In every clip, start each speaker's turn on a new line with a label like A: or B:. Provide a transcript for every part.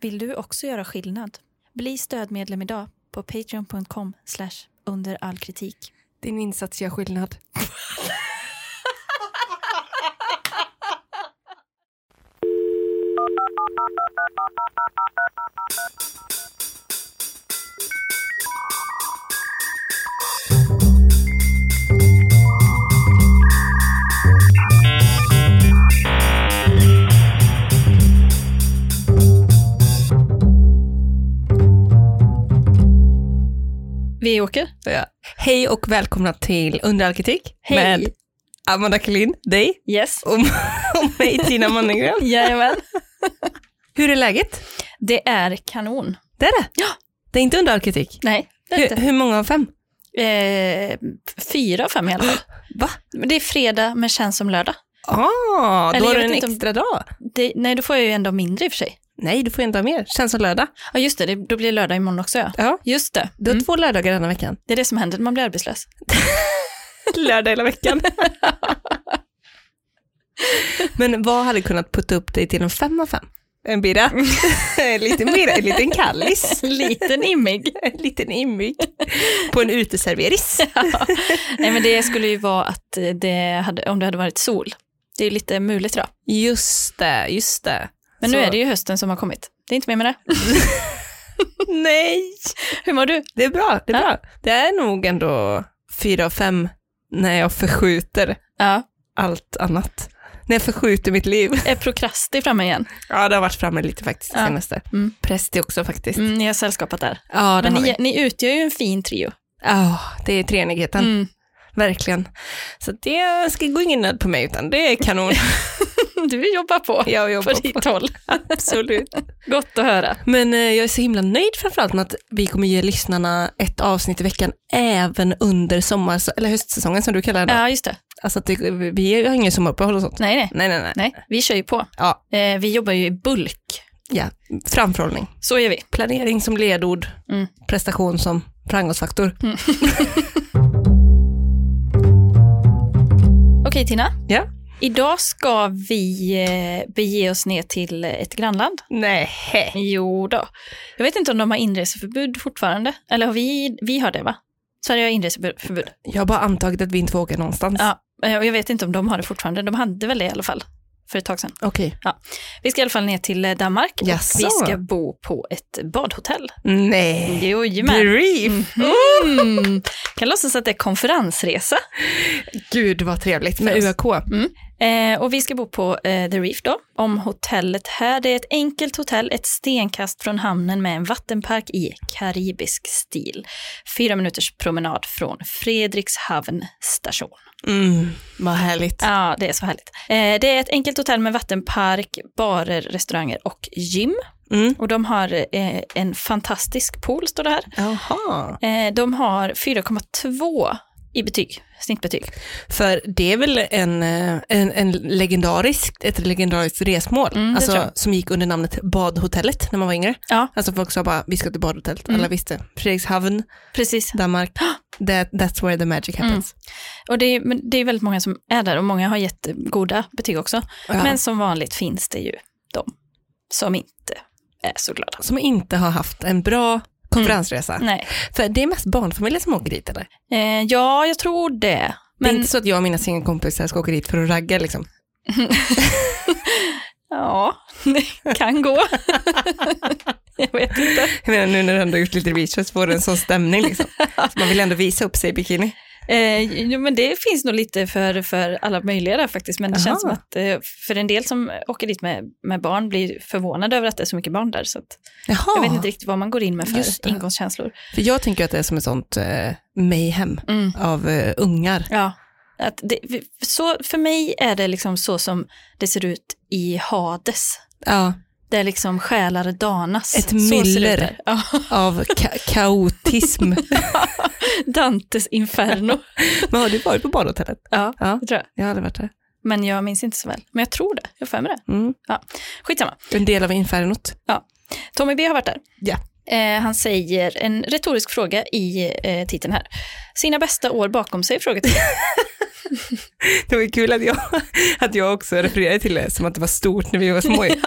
A: Vill du också göra skillnad? Bli stödmedlem idag på patreon.com under all kritik.
B: Din insats gör skillnad.
A: Vi åker.
B: Ja. Hej och välkomna till Under all kritik
A: Hej.
B: med Amanda Kalin, dig
A: Yes.
B: och, och mig Tina Mannengren.
A: Jajamän.
B: Hur är läget?
A: Det är kanon.
B: Det är det. Ja. Det är inte under all kritik.
A: Nej, det är
B: Hur,
A: inte.
B: hur många av fem?
A: Eh, fyra av fem i alla fall.
B: Va?
A: Men Det är fredag men känns som lördag.
B: Ah,
A: Eller
B: då
A: jag
B: har du
A: vet
B: en
A: inte om-
B: extra dag.
A: Det, nej, då får jag ju en dag mindre i och för sig.
B: Nej, du får inte ha mer. Känns som lördag.
A: Ja, just det, det då blir det lördag imorgon också. Ja.
B: Ja.
A: Just det.
B: Du har två lördagar denna veckan.
A: Det är det som händer när man blir arbetslös.
B: Lördag hela veckan. Men vad hade kunnat putta upp dig till en fem av fem? En bira.
A: Mm.
B: en liten bira, en liten kallis.
A: Liten immig.
B: En liten immig på en uteserveris.
A: Nej, men det skulle ju vara att eh, det hade, om det hade varit sol. Det är ju lite muligt idag.
B: Just det, just det.
A: Men nu
B: Så-
A: är det ju hösten som har kommit. Det är inte mer med det.
B: Nej,
A: Hur mår du?
B: det är bra. Det är,
A: Ja.
B: bra. Det är nog ändå fyra av fem när jag förskjuter
A: Ja,
B: allt annat. När jag förskjuter mitt liv.
A: är prokrastig framme igen.
B: Ja, det har varit framme lite faktiskt det
A: Ja.
B: senaste.
A: Mm.
B: Präst är också faktiskt.
A: Mm, ni har sällskapat där.
B: Ja, det
A: Men
B: har vi.
A: ni, ni utgör ju en fin trio.
B: Ja, det är treenigheten.
A: Mm.
B: Verkligen. Så det ska gå ingen nöd på mig, utan det är kanon.
A: Du jobbar på,
B: Jag
A: på
B: jobbar på.
A: ditt håll.
B: Absolut.
A: Gott att höra.
B: Men eh, jag är så himla nöjd framförallt med att vi kommer ge lyssnarna ett avsnitt i veckan även under sommar, eller höstsäsongen som du kallar det.
A: Ja, just det.
B: Alltså att det, vi har ingen sommaruppehåll och sånt.
A: Nej, nej.
B: Nej, nej, nej.
A: nej. Vi kör ju på.
B: Ja.
A: Eh, vi jobbar ju i bulk.
B: Ja. Framförhållning.
A: Så gör vi.
B: Planering som ledord,
A: Mm.
B: prestation som framgångsfaktor.
A: Okej, Tina.
B: Ja.
A: Idag ska vi eh, bege oss ner till ett grannland.
B: Nej.
A: Jo då. Jag vet inte om de har inreseförbud fortfarande. Eller har vi, vi har det va? Sverige har inreseförbud.
B: Jag har bara antagit att vi inte får åka någonstans.
A: Ja, eh, och jag vet inte om de har det fortfarande. De hade väl det i alla fall för ett tag sedan.
B: Okej.
A: Vi ska i alla fall ner till eh, Danmark
B: Jaså?
A: och vi ska bo på ett badhotell.
B: Nej.
A: Jojomän.
B: Brief.
A: Mm. Kan låtsas att det är konferensresa.
B: Gud vad trevligt
A: För
B: med
A: oss.
B: UAK.
A: Eh, och vi ska bo på eh, The Reef då. Om hotellet här, det är ett enkelt hotell, ett stenkast från hamnen med en vattenpark i karibisk stil. Fyra minuters promenad från Fredrikshavn station.
B: Mm, vad härligt.
A: Ja, det är så härligt. Eh, det är ett enkelt hotell med vattenpark, barer, restauranger och gym.
B: Mm.
A: Och de har eh, en fantastisk pool, står det här.
B: Jaha.
A: Eh, de har 4,2 i betyg, snittbetyg.
B: För det är väl en, eh, en, en legendarisk, ett legendariskt resmål
A: Mm, det tror
B: alltså,
A: jag.
B: som gick under namnet Badhotellet när man var yngre.
A: Ja.
B: Alltså folk sa bara vi ska till badhotellet,
A: Mm.
B: alla visste. Fredrikshavn,
A: Precis.
B: Danmark, that, that's where the magic
A: Mm.
B: happens.
A: Och det är, men det är väldigt många som är där och många har jättegoda betyg också.
B: Ja.
A: Men som vanligt finns det ju de som inte är så glada.
B: Som inte har haft en bra konferensresa.
A: Mm. Nej.
B: För det är mest barnfamiljer som åker dit eller?
A: Eh, ja, jag tror det.
B: Men... Det är
A: Men
B: inte så att jag och mina singelkompisar ska åka dit för att ragga liksom.
A: ja, det kan gå. jag vet inte.
B: Jag menar nu när du ändå har gjort lite research får du en sån stämning liksom. Så man vill ändå visa upp sig i bikini.
A: Eh, jo, men det finns nog lite för, för alla möjliga där faktiskt. Men det
B: Aha.
A: känns som att eh, för en del som åker dit med, med barn blir förvånade över att det är så mycket barn där. Så att
B: Jaha.
A: jag vet inte riktigt vad man går in med
B: Just
A: för
B: det.
A: ingångskänslor.
B: För jag tänker att det är som ett sånt eh, mayhem
A: Mm.
B: av eh, ungar.
A: Ja. Att det, så, för mig är det liksom så som det ser ut i Hades.
B: Ja.
A: Där liksom själar danas.
B: Ett
A: Så ser det ut
B: myller.
A: där. Ja,
B: Av ka- kaotism.
A: Dantes inferno.
B: Men har du varit på badhotellet?
A: Ja,
B: Ja.
A: det tror jag.
B: Jag har aldrig varit där.
A: Men jag minns inte så väl. Men jag tror det. Jag har för mig det.
B: Mm.
A: Skitsamma.
B: En del av infernot.
A: Tommy B har varit där.
B: Ja.
A: Eh, han säger en retorisk fråga i eh, titeln här. Sina bästa år bakom sig? Frågetecken.
B: Det var kul att jag, att jag också refererade till det som att det var stort när vi var små.
A: Ja.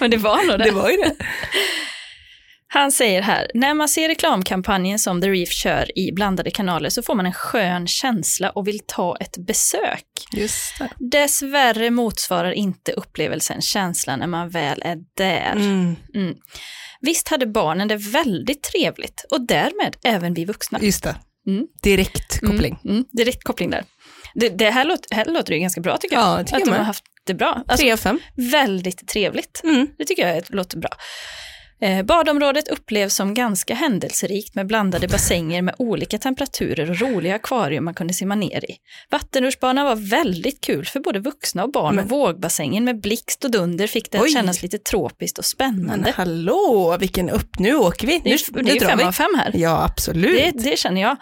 A: Men det var nog det.
B: Det var ju det.
A: Han säger här, när man ser reklamkampanjen som The Reef kör i blandade kanaler så får man en skön känsla och vill ta ett besök.
B: Just det.
A: Dessvärre motsvarar inte upplevelsen känslan när man väl är där.
B: Mm.
A: Mm. Visst hade barnen det väldigt trevligt och därmed även vi vuxna.
B: Just det.
A: Mm.
B: Direkt koppling.
A: Mm, mm, direkt koppling där. Det, det här, låter, här låter det ganska bra tycker jag.
B: Ja, det tycker
A: att
B: jag
A: de har
B: med.
A: haft det bra. Alltså,
B: Tre av fem.
A: väldigt trevligt.
B: Mm.
A: Det tycker jag låter bra. Eh, Badområdet upplevs som ganska händelserikt med blandade bassänger med olika temperaturer och roliga akvarium man kunde simma ner i. Vattenrutschbanan var väldigt kul för både vuxna och barn
B: Men-
A: och vågbassängen med blixt och dunder fick det att
B: Oj.
A: kännas lite tropiskt och
B: Men
A: spännande.
B: hallå, vilken upp, nu åker vi.
A: Det
B: Nu,
A: är, det
B: nu
A: är fem av
B: drar
A: fem här.
B: vi. Ja, absolut.
A: Det, det känner jag.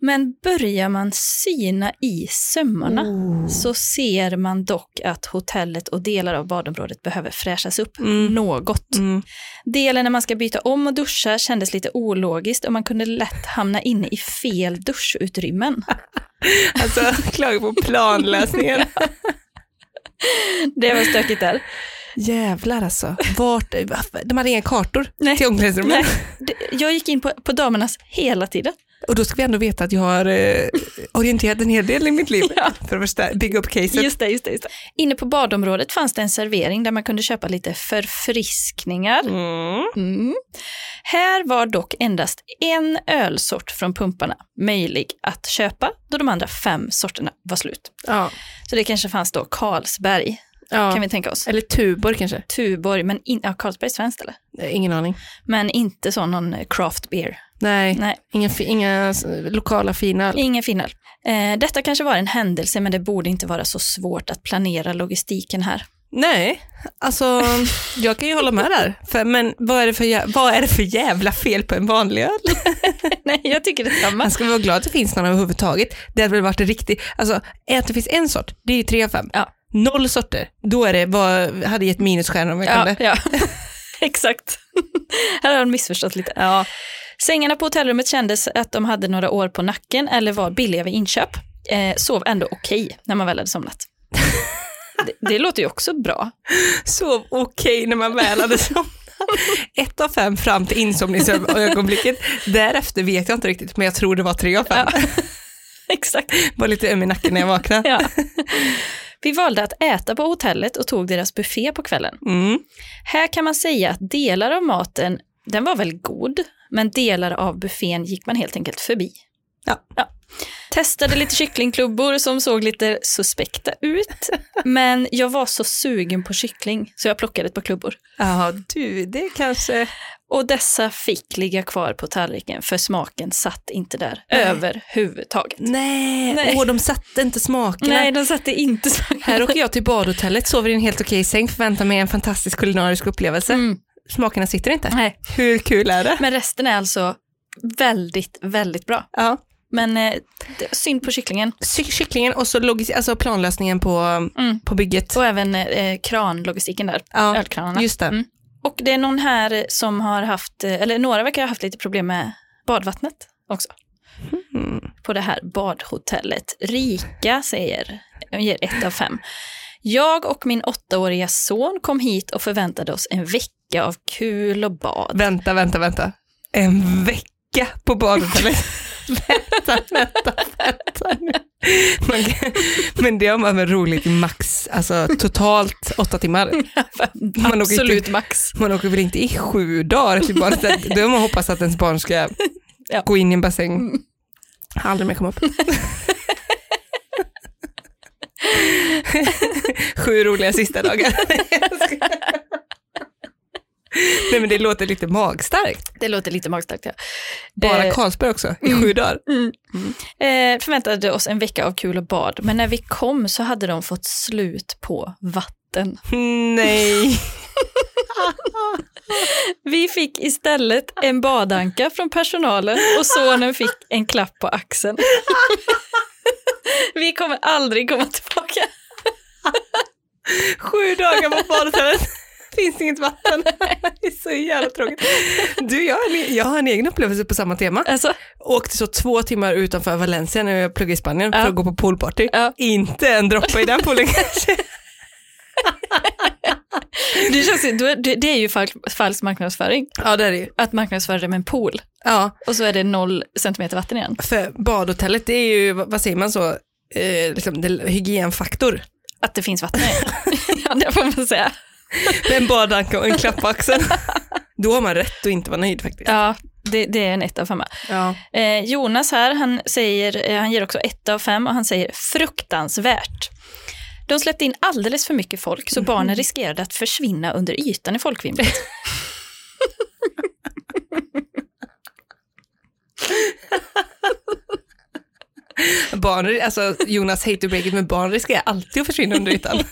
A: Men börjar man syna i sömmarna
B: Oh.
A: så ser man dock att hotellet och delar av badområdet behöver fräschas upp
B: Mm.
A: något.
B: Mm.
A: Delen när man ska byta om och duscha kändes lite ologiskt och man kunde lätt hamna inne i fel duschutrymmen.
B: Alltså, klaga på planlösningen.
A: Det var stökigt där.
B: Jävlar alltså. Vart, de hade inga kartor
A: Nej.
B: till omklädningsrummet.
A: Nej, det- jag gick in på, på damernas hela tiden.
B: Och då ska vi ändå veta att jag har eh, orienterat en hel del i mitt liv för att förstär- bygga upp caset.
A: Just det, just det, just det. Inne på badområdet fanns det en servering där man kunde köpa lite förfriskningar.
B: Mm.
A: Mm. Här var dock endast en ölsort från pumparna möjlig att köpa då de andra fem sorterna var slut.
B: Ja.
A: Så det kanske fanns då Carlsberg, kan vi tänka oss.
B: Eller Tuborg kanske? Eh,
A: Tuborg, men in, ja, Carlsberg är svenskt eller?
B: Ingen aning.
A: Men inte sån någon eh, craft beer.
B: Nej,
A: Nej.
B: Inga, fi- inga s- lokala fina.
A: Ingen finöl. Eh, detta kanske var en händelse, men det borde inte vara så svårt att planera logistiken här.
B: Nej, alltså jag kan ju hålla med där. För, men vad är, det för, jä- vad är det för jävla fel på en vanlig öl?
A: Nej, jag tycker detsamma.
B: Man ska vara glad att det finns någon överhuvudtaget. Det hade väl varit en riktig, alltså att det finns en sort, det är ju tre av fem.
A: Ja.
B: Noll sorter, då är det, vad, hade gett minusstjärnor om jag
A: Ja,
B: kunde.
A: ja. Exakt. här har de missförstått lite.
B: Ja.
A: Sängarna på hotellrummet kändes att de hade några år på nacken eller var billiga vid inköp. Eh, sov ändå okej när man väl hade somnat. det, det låter ju också bra.
B: Sov okej när man väl hade somnat. Ett av fem fram till insomningsögonblicket. Därefter vet jag inte riktigt, men jag tror det var tre av fem.
A: Exakt.
B: Var lite öm i nacken när jag vaknade.
A: Ja. Vi valde att äta på hotellet och tog deras buffé på kvällen.
B: Mm.
A: Här kan man säga att delar av maten, den var väl god, men delar av buffén gick man helt enkelt förbi.
B: Ja.
A: Testade lite kycklingklubbor som såg lite suspekta ut, men jag var så sugen på kyckling så jag plockade ett par klubbor.
B: Ja, du, det kanske...
A: Och dessa fick ligga kvar på tallriken för smaken satt inte där
B: Nej.
A: överhuvudtaget.
B: Nej,
A: Nej.
B: Åh, de satte inte smakerna.
A: Nej, den satte inte smaken.
B: Här åker jag till badhotellet, sover i en helt okej säng, förväntar mig en fantastisk kulinarisk upplevelse.
A: Mm.
B: Smakerna sitter inte.
A: Nej.
B: Hur kul är det?
A: Men resten är alltså väldigt, väldigt bra.
B: Ja.
A: Men eh, det- synd på kycklingen
B: Cy- Kycklingen och så logis- alltså planlösningen på,
A: Mm.
B: på bygget.
A: och även eh, kranlogistiken där,
B: Ja,
A: ölkranarna.
B: just det.
A: Mm. Och det är någon här som har haft, eh, eller några verkar ha haft lite problem med badvattnet också.
B: Hmm.
A: På det här badhotellet. Rika säger, jag ger ett av fem. Jag och min åttaåriga son kom hit och förväntade oss en vecka av kul och bad.
B: Vänta, vänta, vänta. En vecka på badhotellet. vänta, vänta, vänta nu. Man kan, men det har man väl roligt i max, alltså totalt åtta timmar. Man åker,
A: Absolut
B: inte,
A: max.
B: man åker väl inte i sju dagar till badhotellet. Då har man hoppas att ens barn ska
A: Ja. Mm.
B: gå in i en bassäng. Aldrig mer komma upp. Sju roliga sista dagar. Nej men det låter lite magstarkt.
A: Det låter lite magstarkt. Ja.
B: Bara
A: Eh,
B: Carlsberg också, i sju dagar.
A: Eh, förväntade oss en vecka av kul och bad, men när vi kom så hade de fått slut på vatten. Mm.
B: Nej.
A: Vi fick istället en badanka från personalen och sonen fick en klapp på axeln. Vi kommer aldrig komma tillbaka.
B: Sju dagar på badhotellet. finns inget vatten. det är så jävla tråkigt. Du, jag har, en, e- jag har en egen upplevelse på samma tema.
A: Alltså,
B: Åkte så två timmar utanför Valencia när jag pluggade i Spanien
A: Ja.
B: för att gå på poolparty.
A: Ja.
B: Inte en droppe i den poolen kanske.
A: det, känns, ju- du- det det är ju fal- falsk marknadsföring,
B: Ja, det är det ju.
A: att marknadsföra det med en pool
B: Ja,
A: och så är det noll centimeter vatten igen.
B: för badhotellet det är ju, vad vad säger man så, eh, liksom, det, hygienfaktor.
A: Att det finns vatten igen. ja, det får man säga.
B: Med en badanka och en klapp på axeln. Då har man rätt att inte vara nöjd faktiskt.
A: Ja, det, det är en ett av femma.
B: Ja.
A: Eh, Jonas här, han, säger, eh, han ger också ett av fem och han säger fruktansvärt. De släppte in alldeles för mycket folk så barnen riskerade att försvinna under ytan i folkvimlet.
B: Barn, alltså Jonas hate to break it, men barn riskerar alltid att försvinna under ytan.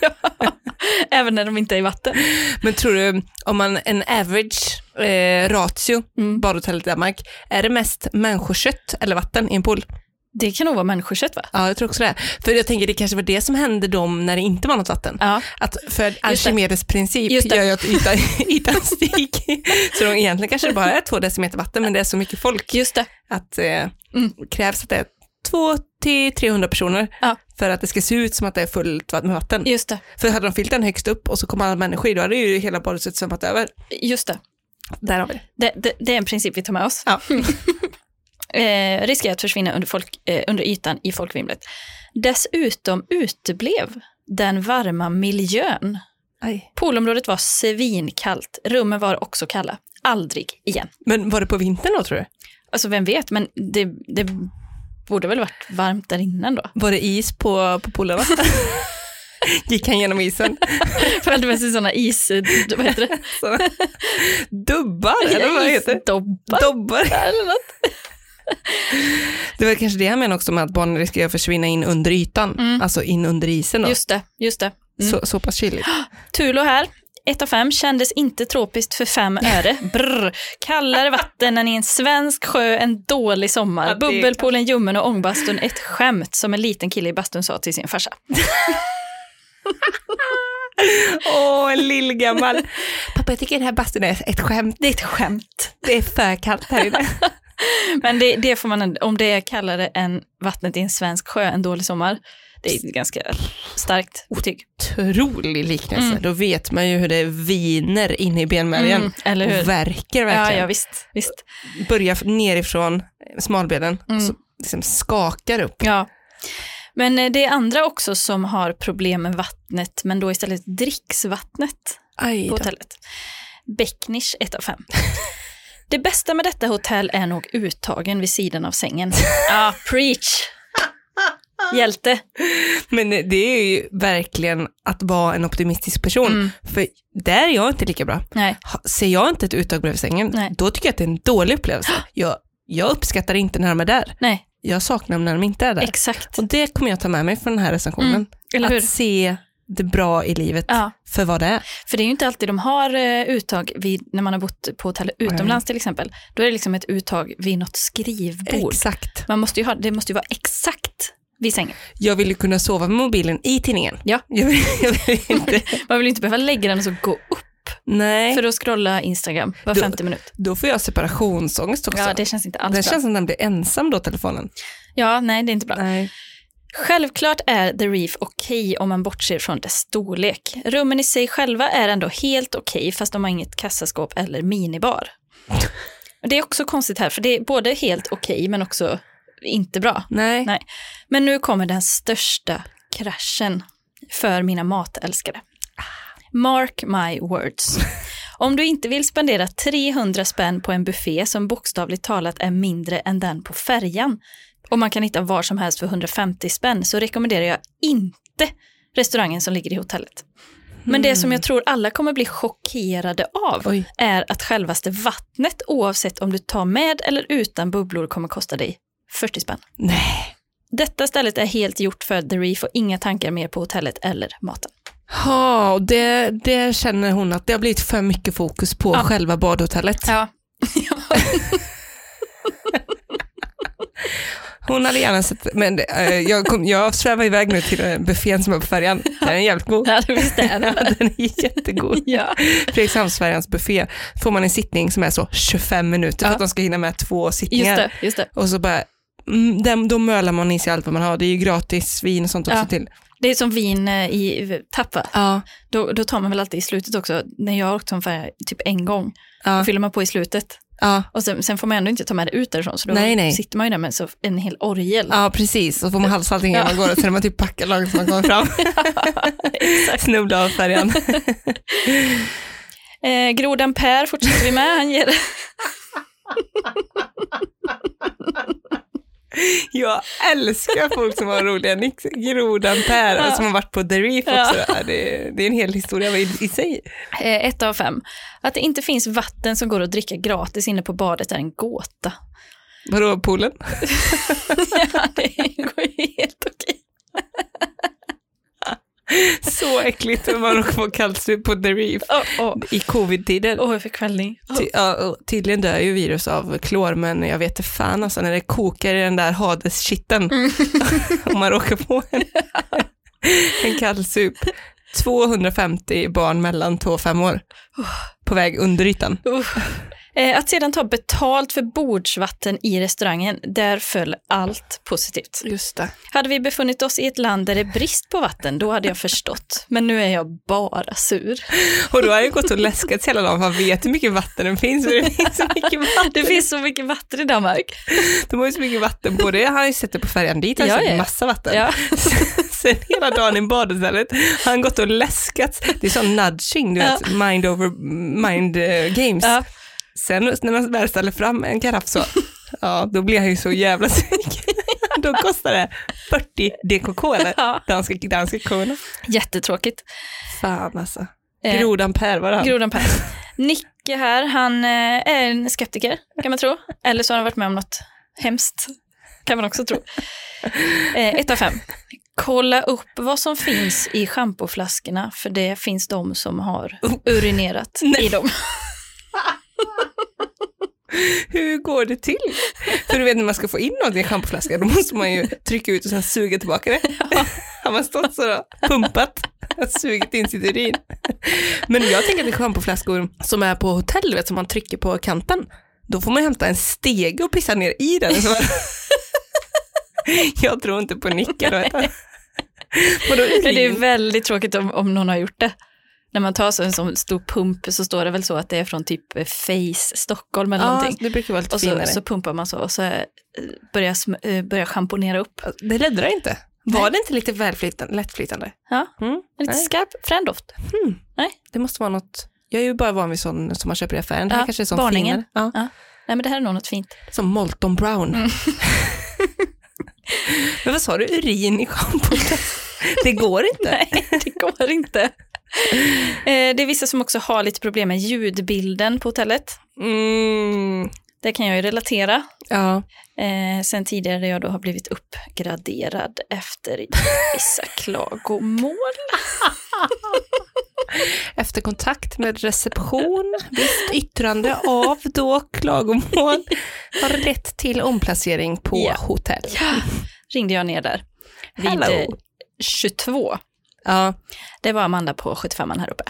A: Även när de inte är i vatten.
B: Men tror du, om man en average eh, ratio,
A: Mm.
B: badhotellet i Danmark, är det mest människokött eller vatten i en pool?
A: Det kan nog vara människokött va?
B: Ja, jag tror också det. För jag tänker det kanske var det som hände dem när det inte var något vatten.
A: Ja.
B: Att för Archimedes princip
A: Just det.
B: gör ju att ytan, ytan stiger. Så de egentligen kanske det bara är två decimeter vatten, men det är så mycket folk
A: Just det.
B: att eh, krävs att det är två till 300 personer
A: Ja.
B: för att det ska se ut som att det är fullt med vatten.
A: Just det.
B: För hade de fyllt den högst upp och så kom alla människor i, då hade ju hela badhuset svämmat över.
A: Just det.
B: Där har vi det. Mm.
A: Det, det, det är en princip vi tar med oss.
B: Ja.
A: eh, riskerar att försvinna under, folk, eh, under ytan i folkvimlet. Dessutom uteblev den varma miljön. Poolområdet var svinkallt, rummen var också kalla. Aldrig igen.
B: Men var det på vintern då tror du?
A: Alltså vem vet, men det, det borde väl varit varmt där innan då?
B: Var det is på, på poolerna? Gick han genom isen?
A: För det med sig sådana is... Vad heter det?
B: Så. Dubbar, eller vad heter det?
A: Isdobbar
B: Dobbar.
A: eller något.
B: Det var kanske det han menade också med att barnen riskerar att försvinna in under ytan, alltså in under isen då.
A: Just det, just det.
B: Så, så pass kyligt.
A: Tulo här. 1 av 5 kändes inte tropiskt för fem öre. Brr. Kallare vatten än i en svensk sjö en dålig sommar.
B: Ja, det-
A: Bubbelpoolen, ljummen och ångbastun ett skämt som en liten kille i bastun sa till sin farsa.
B: Åh, en lillgammal. Pappa, jag tycker den här bastun är ett skämt.
A: Det är ett skämt.
B: Det är för kallt här inne.
A: Men det, det får man, ändå- om det är kallare än vattnet i en svensk sjö en dålig sommar, det är ganska starkt otyg.
B: Otrolig liknelse. Då vet man ju hur det viner inne i benmärgen.
A: Mm, eller hur?
B: Och verkar
A: Ja,
B: verkligen.
A: ja, visst. visst.
B: Börja nerifrån eh, smalbenen och så liksom skakar upp.
A: Ja. Men eh, det är andra också som har problem med vattnet, men då istället dricksvattnet.
B: Aj
A: på hotellet. Becknish 1 av 5. Det bästa med detta hotell är nog uttagen vid sidan av sängen. Ja, ah, preach! Hjälte.
B: Men det är ju verkligen att vara en optimistisk person.
A: Mm.
B: För där är jag inte lika bra.
A: Nej,
B: Ha- Ser jag inte ett uttag bredvid sängen,
A: Nej.
B: då tycker jag att det är en dålig upplevelse. Jag, jag uppskattar inte när de är där.
A: nej,
B: Jag saknar dem när de inte är där.
A: exakt.
B: Och det kommer jag ta med mig från den här recensionen.
A: Mm, eller hur?
B: Att se det bra i livet
A: Ja,
B: för vad det är.
A: för det är ju inte alltid de har eh, uttag vid, när man har bott på hotell utomlands till exempel. Då är det liksom ett uttag vid något skrivbord.
B: Exakt.
A: Man måste ju ha, det måste ju vara exakt vid sängen.
B: Jag vill ju kunna sova med mobilen i tidningen.
A: Ja.
B: Jag vill, jag vill inte.
A: Man vill ju inte behöva lägga den och så gå upp
B: Nej,
A: för att scrolla Instagram var
B: Då-
A: femte minut.
B: då får jag separationsångest också.
A: Ja, det känns inte
B: det
A: alls bra.
B: känns som att den blir ensam då, telefonen.
A: Ja, nej, det är inte bra.
B: Nej.
A: Självklart är The Reef okej om man bortser från dess storlek. Rummen i sig själva är ändå helt okej fast de har inget kassaskåp eller minibar. Och Det är också konstigt här för det är både helt okej men också inte bra.
B: Nej.
A: Nej. Men nu kommer den största kraschen för mina matälskare. Mark my words. Om du inte vill spendera 300 spänn på en buffé som bokstavligt talat är mindre än den på färjan och man kan hitta var som helst för 150 spänn så rekommenderar jag inte restaurangen som ligger i hotellet. Men det som jag tror alla kommer bli chockerade av
B: Mm. Oj.
A: är att självaste vattnet oavsett om du tar med eller utan bubblor kommer kosta dig 40 spänn.
B: Nej.
A: Detta stället är helt gjort för The Reef och inga tankar mer på hotellet eller maten.
B: Ja, och det, det känner hon att det har blivit för mycket fokus på
A: Ja.
B: själva badhotellet.
A: Ja.
B: Hon hade gärna sett, men eh, jag, kom, jag svävar iväg nu till eh, buffén som är på färjan. Den är jävligt god.
A: Ja, det visst är
B: Ja,
A: det.
B: den är jättegod.
A: Ja.
B: Fredrikshamnsfärjans buffé får man en sittning som är så 25 minuter för
A: Ja.
B: att de ska hinna med två
A: Just
B: sittningar.
A: det, just det.
B: Och så bara, mm, dem, då mölar man i sig allt vad man har. Det är ju gratis vin och sånt också
A: Ja.
B: till.
A: Det är som vin eh, i tapp, va?
B: Ja.
A: Då, då tar man väl alltid i slutet också. När jag har åkt som färja typ en gång, då
B: Ja.
A: fyller man på i slutet.
B: Ja.
A: Och sen, sen får man ändå inte ta med det ut därifrån, så då
B: Nej, nej.
A: sitter man ju där med så en hel orgel.
B: ja, precis. Så får man halsa allting innan
A: Ja.
B: man går och sen är man typ packad lagom som man kommer fram. Snubbla av färjan.
A: Eh, grodan Per fortsätter vi med. Han ger,
B: Jag älskar folk som har roliga nix. Grodan Per,
A: Ja.
B: som har varit på The Reef
A: Ja.
B: också. Ja. Det, det är en hel historia i, i sig.
A: eh, ett av fem. Att det inte finns vatten som går att dricka gratis inne på badet är en gåta.
B: Vadå, poolen?
A: ja, det går ju helt okej.
B: Så äckligt när man åker på kallsup på The Reef
A: Åh, åh.
B: i covid-tider.
A: Åh, jag fick skällning.
B: Ty, ja, och tydligen dör ju virus av klor, men jag vet inte fan alltså när det kokar i den där hadeskitten om man råkar på en, en kallsup. 250 barn mellan 2 och 5 år på väg under ytan.
A: Uff. Eh, Att sedan ta betalt för bordsvatten i restaurangen, där föll allt positivt.
B: Just det.
A: Hade vi befunnit oss i ett land där det är brist på vatten, då hade jag förstått. Men nu är jag bara sur.
B: Och då har jag gått och läskats hela dagen, för man vet hur mycket vatten det finns, för det finns så mycket vatten.
A: Det finns så mycket vatten i Danmark.
B: De har ju så mycket vatten, både han har ju sett det på färjan dit, han har
A: Ja,
B: sett
A: ja.
B: massa vatten.
A: Ja.
B: Sen hela dagen i badstället har han gått och läskats. Det är sån nudging, du vet, mind over mind eh, games.
A: Ja.
B: Sen när han väl ställer fram en karaff så, ja då blir han ju så jävla sugen. då kostar det 40 DKK eller?
A: Ja.
B: Danska, danska krona.
A: Jättetråkigt.
B: Fan alltså.
A: Eh,
B: Grodan Per var han.
A: Grodan Per. Nicke här, han eh, är en skeptiker, kan man tro. Eller så har han varit med om något hemskt, kan man också tro. Eh, Ett av fem. Kolla upp vad som finns i schampoflaskorna, för det finns de som har
B: Oh.
A: urinerat i dem.
B: Hur går det till? För du vet när man ska få in någonting i schampoflaskan då måste man ju trycka ut och sen suga tillbaka det. Har man stått så då, pumpat, sugit in sitt urin. Men jag tänker att det är schampoflaskor som är på hotell, du vet, som man trycker på kanten. Då får man hämta en stege och pissa ner i den. Så man- Jag tror inte på nickar. vet du. Och då
A: Men det är
B: urin.
A: väldigt tråkigt om, om någon har gjort det. När man tar så en sån stor pump så står det väl så att det är från typ eh, Face Stockholm eller
B: Ja,
A: någonting.
B: det brukar vara lite
A: Och så,
B: finare.
A: så pumpar man så och så eh, börjar, sm- eh, börjar schamponera upp.
B: Alltså, Det räddar inte.
A: Nej.
B: Var det inte lite välflytande, lättflytande?
A: Ja,
B: Mm.
A: lite
B: Nej.
A: skarp, frän doft.
B: Det måste vara något, jag är ju bara van vid sån som man köper i affären. Det här
A: Ja,
B: kanske är sån
A: Barningen.
B: finare. Ja.
A: Ja. Nej, men det här är nog något fint.
B: Som Molton Brown.
A: Mm.
B: Men vad sa du, urin i schampot? det går inte.
A: Nej, det går inte. Eh, Det är vissa som också har lite problem med ljudbilden på hotellet.
B: Mm,
A: Det kan jag ju relatera.
B: ja.
A: Eh, sen tidigare där jag då har blivit uppgraderad efter vissa klagomål.
B: Efter kontakt med reception, visst yttrande av då klagomål, har rätt till omplacering på
A: Ja.
B: hotell.
A: Ringde jag ner där vid
B: Hello.
A: eh, 22.
B: Ja,
A: Det var Amanda på 75 här uppe.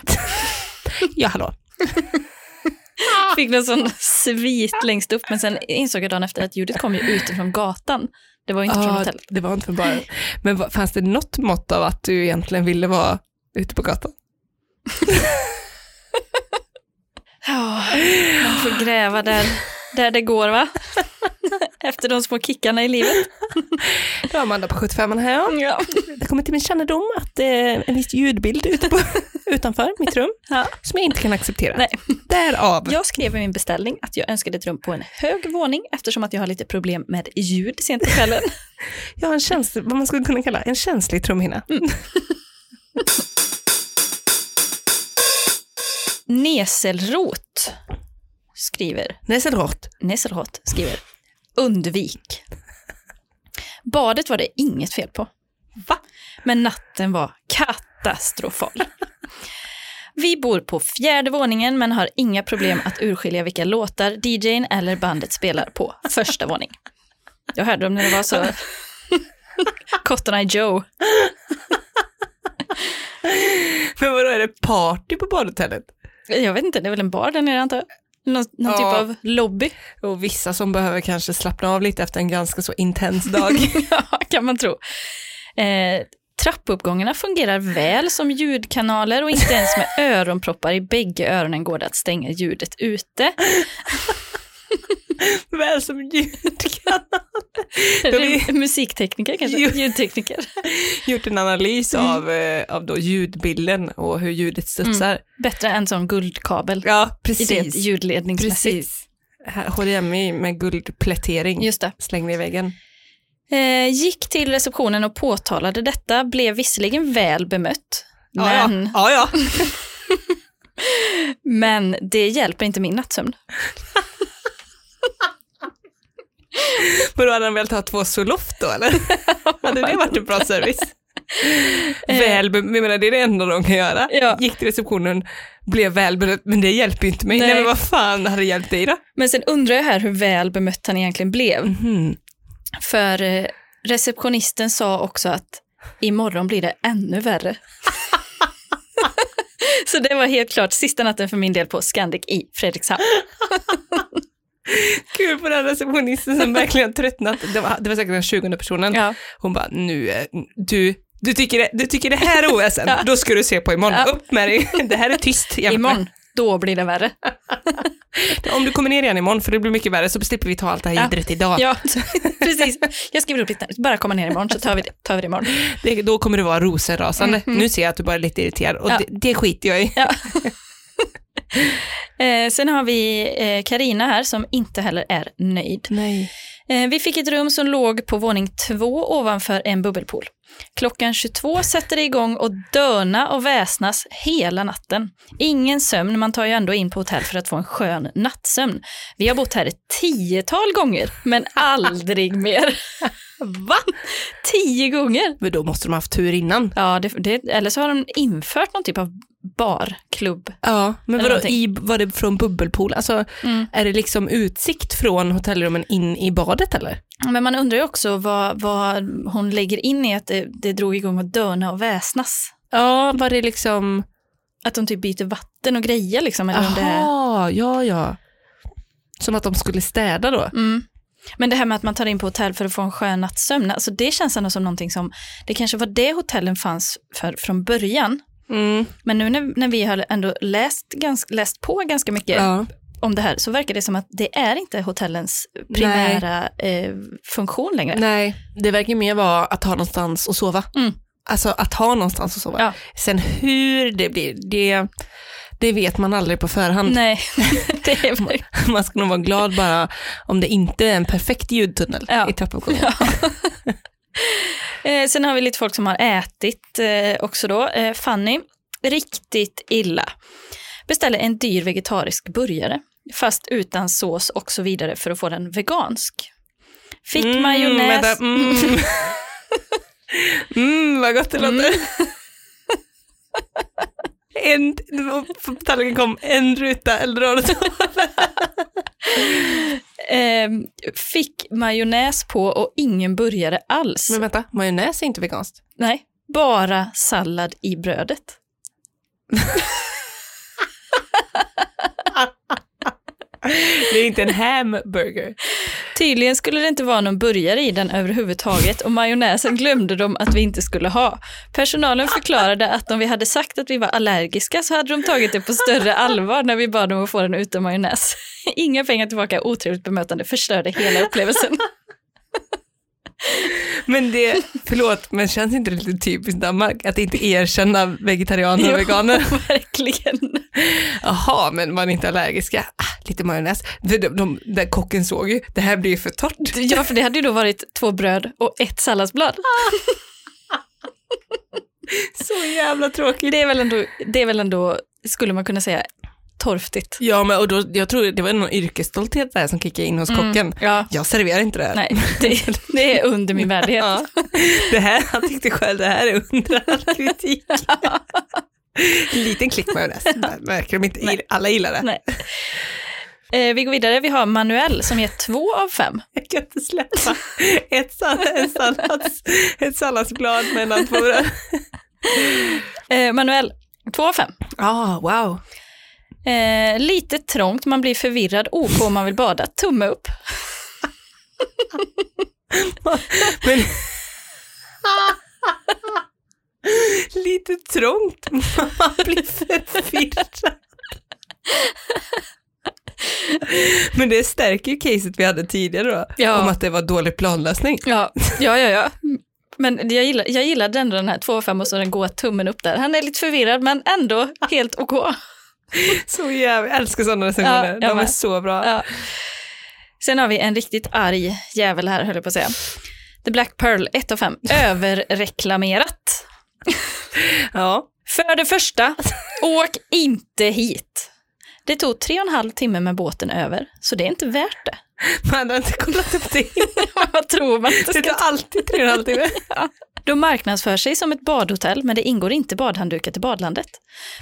B: ja hallå.
A: Fick någon sån svit längst upp, men sen insåg jag dagen efter att ljudet kom ju utifrån gatan. Det var ju inte från
B: Ja,
A: hotellet.
B: det var inte från baren. Men vad- fanns det något mått av att du egentligen ville vara ute på gatan?
A: Ja, man får gräva där, där det går va? Efter de små kickarna i livet.
B: Ja, Amanda på 75 här. ja.
A: Ja.
B: Det kommer till min kännedom att det är en viss ljudbild ute på, utanför mitt rum
A: Ja.
B: som jag inte kan acceptera.
A: Nej.
B: Därav.
A: Jag skrev i min beställning att jag önskade ett rum på en hög våning eftersom att jag har lite problem med ljud sent på kvällen.
B: Jag har en känslig, vad man skulle kunna kalla en känslig trumhinna.
A: Neselrot skriver,
B: Näselrot.
A: Neselrot skriver, undvik. Badet var det inget fel på.
B: Va?
A: Men natten var katastrofal. Vi bor på fjärde våningen men har inga problem att urskilja vilka låtar DJn eller bandet spelar på första våning. Jag hörde dem när det var så. Cotton Eye Joe.
B: Men vadå, är det party på badhotellet?
A: Jag vet inte, det är väl en bar där nere antar jag? Någon, någon
B: Ja.
A: typ av lobby.
B: Och vissa som behöver kanske slappna av lite efter en ganska så intens dag.
A: Ja, kan man tro. Eh, trappuppgångarna fungerar väl som ljudkanaler och inte ens med öronproppar i bägge öronen går det att stänga ljudet ute.
B: Väl som ljudkanal.
A: Eller Musiktekniker kanske?
B: Ljud-
A: Ljudtekniker.
B: Gjort en analys av, eh, av då ljudbilden och hur ljudet studsar.
A: Bättre än sån guldkabel.
B: Ja,
A: I det
B: precis.
A: ljudledningsmässigt.
B: Precis. Här, HDMI med guldplätering.
A: Just det.
B: Släng det i väggen.
A: Eh, gick till receptionen och påtalade detta, blev visserligen väl bemött.
B: Ja,
A: Men,
B: ja. ja, ja.
A: men det hjälper inte min nattsömn.
B: Men då hade han velat ha två Zoloft då eller? Hade det varit en bra service? Väl, be- jag menar det är det enda de kan göra.
A: Eh. Ja.
B: Gick till receptionen, blev väl beredd, men det hjälper ju inte mig. Nej.
A: Nej.
B: men vad fan hade hjälpt dig då?
A: Men sen undrar jag här hur väl bemött han egentligen blev. För eh, receptionisten sa också att imorgon blir det ännu värre. Så det var helt klart sista natten för min del på Scandic i Fredrikshamn.
B: Kul på den receptionisten som verkligen har tröttnat. Det var, det var säkert den 20 personen.
A: Ja.
B: Hon bara, nu, eh, du, du, tycker det, du tycker det här är OSen, då ska du se på imorgon.
A: Ja.
B: Upp med dig, det här är tyst. jämfört med-
A: Imorgon, då blir det värre.
B: Om du kommer ner igen imorgon, för det blir mycket värre, så slipper vi ta allt det här
A: Ja.
B: jiddret idag.
A: Ja, precis. Jag skriver upp lite, bara komma ner imorgon så tar vi det, tar vi det imorgon.
B: Det, då kommer du vara rosenrasande. Nu ser jag att du bara är lite irriterad och
A: Mhm. Ja.
B: det, det skiter jag i.
A: Eh, sen har vi eh, Karina här som inte heller är nöjd.
B: Nej.
A: Eh, vi fick ett rum som låg på våning två ovanför en bubbelpool. Klockan 22 sätter det igång och döna och väsnas hela natten. Ingen sömn, man tar ju ändå in på hotell för att få en skön nattsömn. Vi har bott här ett tiotal gånger, men aldrig mer. Va? Tio gånger?
B: Men då måste de ha haft tur innan.
A: Ja, det, det, eller så har de infört någon typ av barklubb.
B: Ja, men
A: Eller
B: vadå, i,
A: någonting. Mm.
B: var det från bubbelpool? Alltså, är det liksom utsikt från hotellrummen in i badet eller?
A: Men man undrar ju också vad, vad hon lägger in i att det, det drog igång att döna och väsnas.
B: Ja, var det liksom...
A: Att de typ byter vatten och grejer liksom. Eller om det är...
B: Jaha, ja, ja. Som att de skulle städa då?
A: mm. Men det här med att man tar in på hotell för att få en skön nattsömn, alltså det känns ändå som någonting som, det kanske var det hotellen fanns för från början.
B: Mm.
A: Men nu när, när vi har ändå läst, ganska, läst på ganska mycket
B: Ja.
A: om det här så verkar det som att det är inte hotellens primära eh, funktion längre.
B: Nej, det verkar mer vara att ha någonstans att sova.
A: Mm.
B: Alltså att ha någonstans att sova.
A: Ja.
B: Sen hur det blir, det, det vet man aldrig på förhand.
A: Nej, det är verkligen
B: Man ska nog vara glad bara om det inte är en perfekt ljudtunnel
A: Ja.
B: i trappuppgången.
A: Eh, sen har vi lite folk som har ätit eh, också då. Eh, Fanny, riktigt illa. Beställer en dyr vegetarisk burgare, fast utan sås och så vidare för att få den vegansk. Fick
B: Mm,
A: majonnäs.
B: vänta, mm. mm, vad gott det låter. En, på tallriken kom en ruta eldorado.
A: Ehm, fick majonnäs på och ingen burgare alls.
B: Men vänta, majonnäs är inte veganskt.
A: Nej, bara sallad i brödet.
B: Det är inte en hamburger.
A: Tydligen skulle det inte vara någon burgare i den överhuvudtaget och majonnäsen glömde de att vi inte skulle ha. Personalen förklarade att om vi hade sagt att vi var allergiska så hade de tagit det på större allvar när vi bad dem att få den utan majonnäs. Inga pengar tillbaka, otrevligt bemötande, förstörde hela upplevelsen.
B: Men det, förlåt, men känns inte det lite typiskt Danmark att inte erkänna vegetarianer och veganer?
A: Jo, verkligen.
B: Jaha, men man är inte allergiska. Ah, lite majonnäs. De, de, de, där kocken såg ju, det här blir ju för torrt.
A: Ja, för det hade ju då varit två bröd och ett salladsblad.
B: Så jävla tråkigt.
A: Det är väl ändå, det är väl ändå skulle man kunna säga, torftigt.
B: Ja, men och då, jag tror det var någon yrkesstolthet där som kickade in hos kocken.
A: Ja.
B: Jag serverar inte det här.
A: Nej, det, det är under min värdighet.
B: Ja. Det här, han tyckte själv det här är under all kritik. Liten klick majonnäs, verkar de inte,
A: Nej.
B: alla gillar det.
A: Nej. Eh, vi går vidare, vi har Manuel som ger två av fem.
B: Jag kan inte släppa ett, sall- ett, sallads, ett salladsblad mellan två rör.
A: Eh, Manuel, två av fem.
B: Ah, wow.
A: Eh, lite trångt, man blir förvirrad, OK om man vill bada, tumme upp.
B: Men... Lite trångt, man blir förvirrad. Men det stärker ju caset vi hade tidigare då,
A: Ja.
B: om att det var dålig planlösning.
A: Ja, ja, ja. ja. Men jag, gillar, jag gillade ändå den här 2 av 5 och så den goa tummen upp där. Han är lite förvirrad men ändå helt OK.
B: Så jävla, jag älskar sådana recensioner,
A: jag
B: de är
A: med.
B: så bra.
A: Ja. Sen har vi en riktigt arg jävel här, höll jag på att säga. The Black Pearl, 1 av 5. Överreklamerat.
B: Ja.
A: För det första, åk inte hit. Det tog tre och en halv timme med båten över, så det är inte värt det.
B: Man har inte kollat upp det
A: Vad tror man?
B: Det tar alltid tre och en halv timme.
A: De marknadsför sig som ett badhotell, men det ingår inte badhanddukar till badlandet.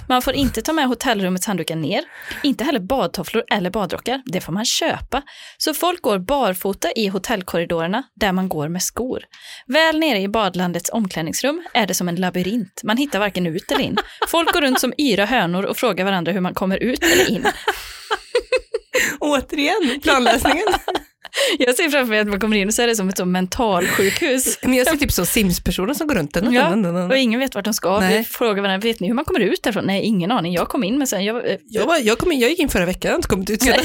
A: Man får inte ta med hotellrummets handdukar ner, inte heller badtofflor eller badrockar. Det får man köpa. Så folk går barfota i hotellkorridorerna där man går med skor. Väl nere i badlandets omklädningsrum är det som en labyrint. Man hittar varken ut eller in. Folk går runt som yra hönor och frågar varandra hur man kommer ut eller in.
B: Återigen, planlösningen.
A: Jag ser framför mig att man kommer in och så är det som ett sånt mentalsjukhus.
B: Men jag ser typ så Sims-personer som går runt. Den,
A: Ja, och ingen vet vart de ska. Vi
B: Nej.
A: frågar varandra, vet ni hur man kommer ut därifrån? Nej, ingen aning. Jag kom in, men sen... Jag, eh,
B: Jag, var, jag, kom in, jag gick in förra veckan, jag har inte kommit ut sedan.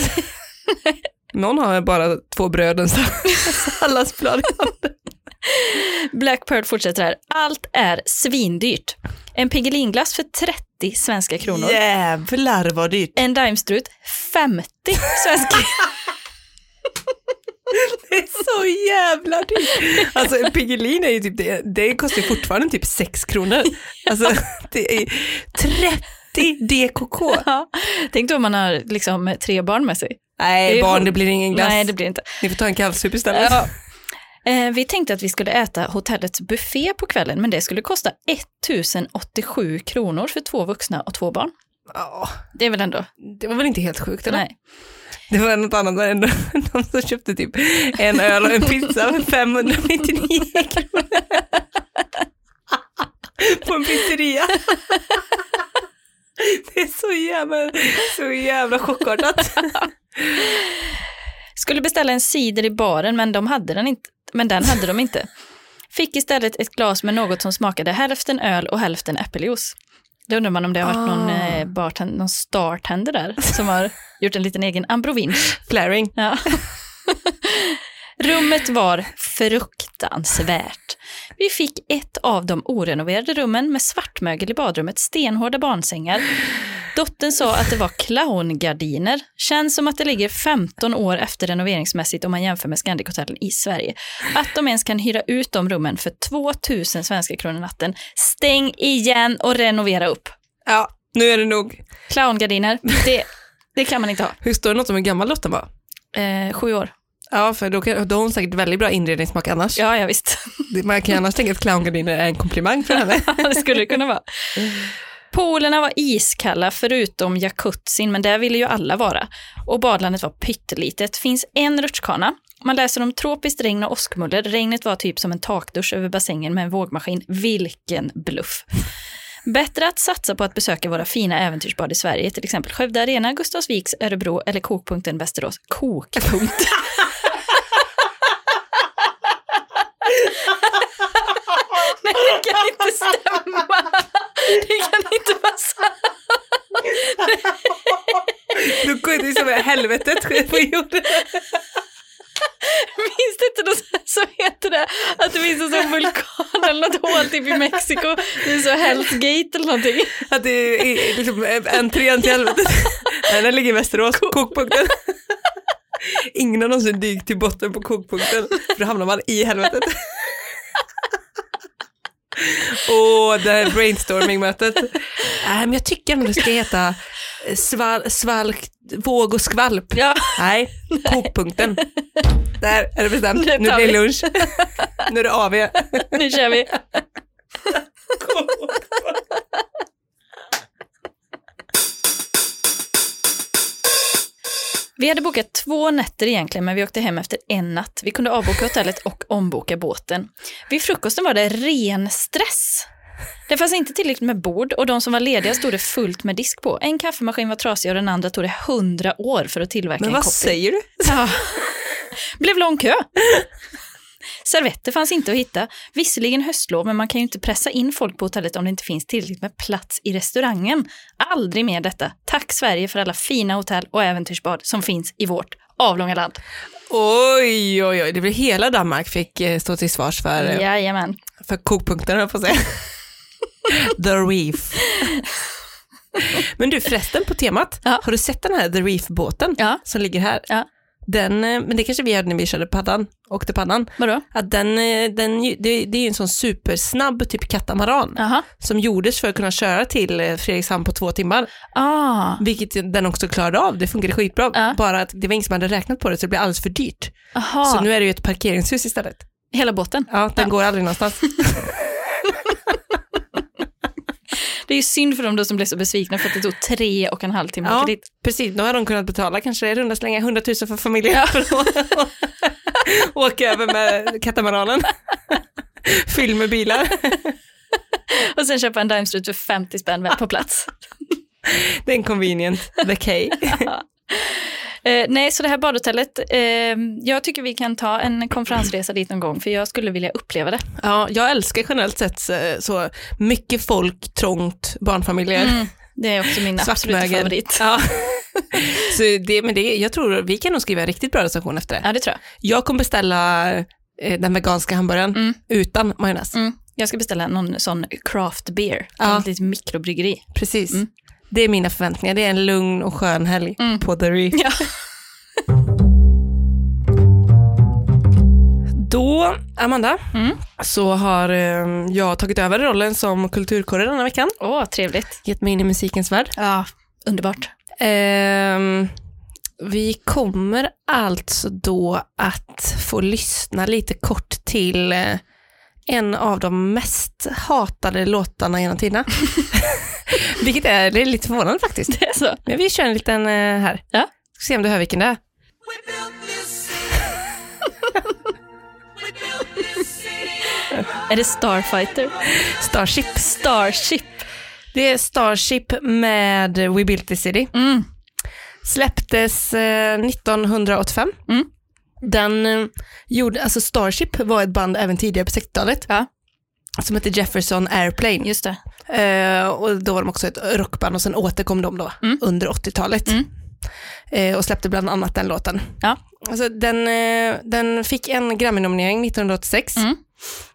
B: Någon har bara två bröd och en sall- salladsblad.
A: Black Pearl fortsätter här. Allt är svindyrt. En pigelinglass för 30 svenska kronor.
B: Jävlar vad dyrt.
A: En daimstrut 50 svenska
B: Det är så jävla dyrt. Alltså en Piggelin är ju typ, det, det kostar ju fortfarande typ 6 kronor. Alltså det är 30 DKK.
A: ja. Tänk då om man har liksom tre barn med sig.
B: Nej barn, det blir ingen glass.
A: Nej, det blir inte.
B: Ni får ta en kallsup istället.
A: Ja. Eh, vi tänkte att vi skulle äta hotellets buffé på kvällen, men det skulle kosta 1087 kronor för två vuxna och två barn.
B: Ja,
A: Det är väl ändå...
B: det var väl inte helt sjukt eller?
A: Nej.
B: Det var något annat än de som köpte typ en öl och en pizza för 599 kronor. På en pizzeria. Det är så jävla, så jävla chockartat.
A: Skulle beställa en cider i baren, men, de hade den inte, men den hade de inte. Fick istället ett glas med något som smakade hälften öl och hälften äppeljuice. Då undrar man om det har varit någon,
B: Ah.
A: eh, bartend, någon startender där som har gjort en liten egen ambrovinch.
B: Flaring.
A: Ja. Rummet var fruktansvärt. Vi fick ett av de orenoverade rummen med svartmögel i badrummet, stenhårda barnsängar. Dottern sa att det var clowngardiner. Känns som att det ligger 15 år efter renoveringsmässigt om man jämför med Scandic-hotellen i Sverige. Att de ens kan hyra ut de rummen för 2000 svenska kronor natten. Stäng igen och renovera upp.
B: Ja, nu är det nog.
A: Clowngardiner, det, det kan man inte ha.
B: Hur står det något om hur gammal Lotta var?
A: Eh, sju år.
B: Ja, för då, kan, då har hon säkert väldigt bra inredningssmak annars.
A: Ja, ja visst.
B: Det- Man kan ju annars tänka att clowngardiner är en komplimang för henne.
A: Ja, det skulle det kunna vara. Poolerna var iskalla förutom jacuzzin, men där ville ju alla vara. Och badlandet var pyttelitet. Finns en rutschkana. Man läser om tropiskt regn och åskmuller. Regnet var typ som en takdusch över bassängen med en vågmaskin. Vilken bluff! Bättre att satsa på att besöka våra fina äventyrsbad i Sverige, till exempel Skövde Arena, Gustavsviks, Örebro eller Kokpunkten Västerås. Kokpunkt. Nej, det kan inte stämma. Det kan inte vara sant.
B: Då går det som helvetet på jorden.
A: Finns det inte något så här som heter det? Att det finns en sån vulkan eller något hål typ i Mexiko. Det är så Hell's Gate eller någonting.
B: Att det är liksom entrén till helvetet. Nej, Den ligger i Västerås, kokpunkten. Ingen har någonsin dykt till botten på kokpunkten, för då hamnar man i helvetet. Åh, det här brainstorming-mötet. Nej, men jag tycker ändå det ska heta eh, sval, svalk, våg och skvalp.
A: Ja.
B: Nej, kokpunkten. Där är det bestämt.
A: Det tar
B: Nu blir
A: vi.
B: det lunch. Nu är det AV.
A: Nu kör vi. Vi hade bokat två nätter egentligen, men vi åkte hem efter en natt. Vi kunde avboka hotellet och omboka båten. Vid frukosten var det ren stress. Det fanns inte tillräckligt med bord och de som var lediga stod det fullt med disk på. En kaffemaskin var trasig och den andra tog det hundra år för att tillverka
B: Men
A: en
B: vad
A: kopp.
B: säger du?
A: Ja. Blev lång kö. Servetter fanns inte att hitta. Visserligen höstlov, men man kan ju inte pressa in folk på hotellet om det inte finns tillräckligt med plats i restaurangen. Aldrig mer detta. Tack Sverige för alla fina hotell och äventyrsbad som finns i vårt avlånga land.
B: Oj, oj, oj, det blir hela Danmark fick eh, stå till svars för, eh,
A: Jajamän.
B: för kokpunkten, höll jag på att säga. The Reef. Men du, förresten på temat,
A: Ja.
B: har du sett den här The Reef-båten
A: Ja.
B: som ligger här?
A: Ja.
B: Den, eh, men det kanske vi hade när vi körde paddan, åkte paddan.
A: Vadå?
B: Att den, eh, den, ju- det, det är ju en sån supersnabb typ katamaran
A: Jaha.
B: som gjordes för att kunna köra till eh, Fredrikshamn på två timmar,
A: Ah.
B: vilket den också klarade av. Det funkade skitbra,
A: Ja.
B: bara att det var ingen som hade räknat på det så det blev alldeles för dyrt. Så
A: Aha.
B: nu är det ju ett parkeringshus istället.
A: Hela båten.
B: Ja, den går aldrig någonstans.
A: Det är ju synd för dem då som blev så besvikna för att det tog tre och en halv timme att
B: Ja.
A: åka dit.
B: Precis, då har de kunnat betala kanske i runda slänga 100 000 för familjen för att åka över med katamaranen. Fylld med bilar.
A: Och sen köpa en Dimestrut för 50 spänn väl på plats.
B: Det är inconvenient, the K.
A: Eh, nej, så det här badhotellet, eh, jag tycker vi kan ta en konferensresa dit någon gång, för jag skulle vilja uppleva det.
B: Ja, jag älskar generellt sett eh, så mycket folk, trångt, barnfamiljer,
A: Det är också min absoluta
B: svartmögel.
A: favorit.
B: Ja. så det, men det, jag tror vi kan nog skriva en riktigt bra recension efter det.
A: Ja, det tror jag.
B: Jag kommer beställa eh, den veganska hamburgaren
A: Mm.
B: utan majonnäs.
A: Mm. Jag ska beställa någon sån craft beer,
B: Ja.
A: ett litet mikrobryggeri.
B: Precis.
A: Mm.
B: Det är mina förväntningar. Det är en lugn och skön helg på The Reef.
A: Ja.
B: Då, Amanda,
A: Mm.
B: så har eh, jag tagit över rollen som kulturkorre denna veckan.
A: Åh, trevligt.
B: Gett mig in i musikens värld.
A: Ja, underbart.
B: Ehm, vi kommer alltså då att få lyssna lite kort till eh, en av de mest hatade låtarna genom tiderna. Vilket är, det är lite förvånande faktiskt.
A: Det är så.
B: Men vi kör en liten eh, här.
A: Ja.
B: Ska se om du hör vilken det är.
C: We built this city. we built this city.
A: Är det Starfighter?
B: Starship.
A: Starship.
B: Det är Starship med We Built This City.
A: Mm.
B: Släpptes eh, 1985.
A: Mm.
B: Den eh, gjorde, alltså Starship var ett band även tidigare på 60-talet.
A: Ja.
B: Som hette Jefferson Airplane.
A: Just det.
B: Eh, och då var de också ett rockband och sen återkom de då
A: Mm.
B: under 80-talet.
A: Mm.
B: Eh, och släppte bland annat den låten.
A: Ja.
B: Alltså, den, eh, den fick en Grammy-nominering 1986.
A: Mm.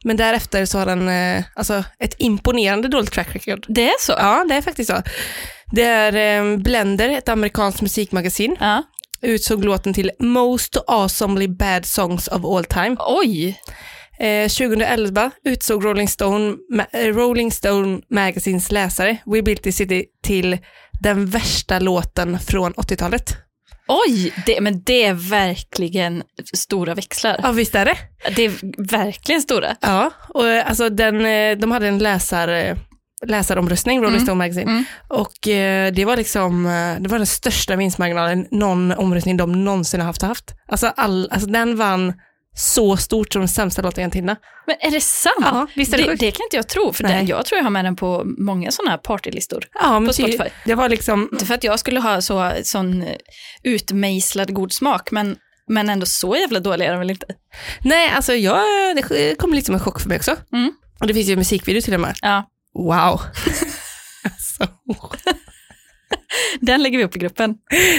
B: Men därefter så har den eh, alltså, ett imponerande dåligt track record.
A: Det är så?
B: Ja, det är faktiskt så. Det är eh, Blender, ett amerikanskt musikmagasin,
A: Ja.
B: utsåg låten till Most Awesomely Bad Songs of All Time.
A: Oj.
B: Eh, 2011 utsåg Rolling Stone, ma- eh, Rolling Stone Magazines läsare We Built This City till den värsta låten från 80-talet.
A: Oj, det, men det är verkligen stora växlar.
B: Ja, visst är det?
A: Det är verkligen stora.
B: Ja, och eh, alltså den, eh, de hade en läsar, eh, läsaromröstning, Rolling
A: Mm.
B: Stone Magazine,
A: Mm.
B: och eh, det var liksom, eh, det var den största vinstmarginalen någon omröstning de någonsin har haft. haft. Alltså, all, alltså den vann så stort som den sämsta låten genom tiderna.
A: Men är det sant?
B: Ja, visst är det
A: det,
B: sjukt?
A: det kan inte jag tro, för
B: Nej.
A: det, jag tror jag har med den på många sådana här partylistor.
B: Ja, men
A: På
B: ty-
A: Spotify.
B: det var liksom,
A: Inte för att jag skulle ha så, sån eh, utmejslad god smak, men, men ändå så jävla dålig är den väl inte?
B: nej alltså jag, det kom lite som en chock för mig också.
A: Mm.
B: Och det finns ju en musikvideo till och med.
A: Ja,
B: Wow. alltså,
A: den lägger vi upp i gruppen.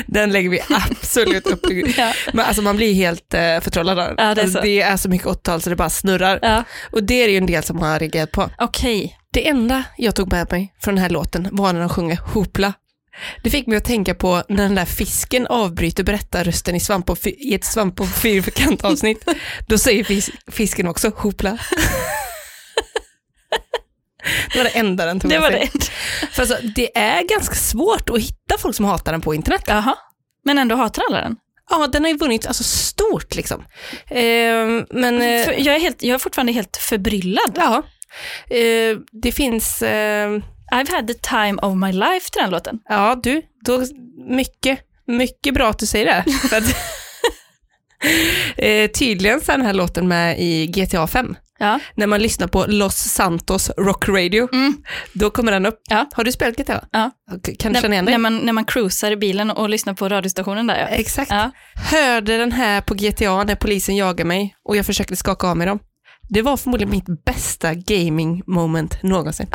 B: den lägger vi absolut upp. i-
A: Ja.
B: Men alltså man blir helt eh, förtrollad av den.
A: Ja, det är
B: alltså,
A: så.
B: det är så mycket 80-tal så det bara snurrar.
A: Ja.
B: Och det är det ju en del som har reagerat på.
A: Okej,
B: Det enda jag tog med mig från den här låten var när de sjunger Hopla. Det fick mig att tänka på när den där fisken avbryter berättarrösten i, svamp och fy- i ett svamp och fyrkant avsnitt. Då säger fis- fisken också Hopla. Det var det enda den tog
A: det
B: med
A: var
B: sig.
A: det.
B: För alltså, det är ganska svårt att hitta folk som hatar den på internet.
A: Jaha, men ändå hatar alla den.
B: Ja, den har ju vunnit alltså, stort liksom. Ehm, men... eh,
A: För jag, är helt, jag är fortfarande helt förbryllad.
B: Ja. Eh, det finns, eh,
A: I've had the time of my life till den låten.
B: ja du, då, mycket. Mycket bra att du säger det. För att, eh, tydligen så är den här låten med i GTA 5.
A: Ja.
B: När man lyssnar på Los Santos Rock Radio,
A: Mm.
B: då kommer den upp.
A: Ja.
B: Har du spelat GTA?
A: Ja.
B: K- Kan du
A: När,
B: känna igen dig?
A: när, man, när man cruisar i bilen och lyssnar på radiostationen där ja.
B: Exakt.
A: ja.
B: Hörde den här på GTA när polisen jagade mig och jag försökte skaka av mig dem. Det var förmodligen mitt bästa gaming moment någonsin.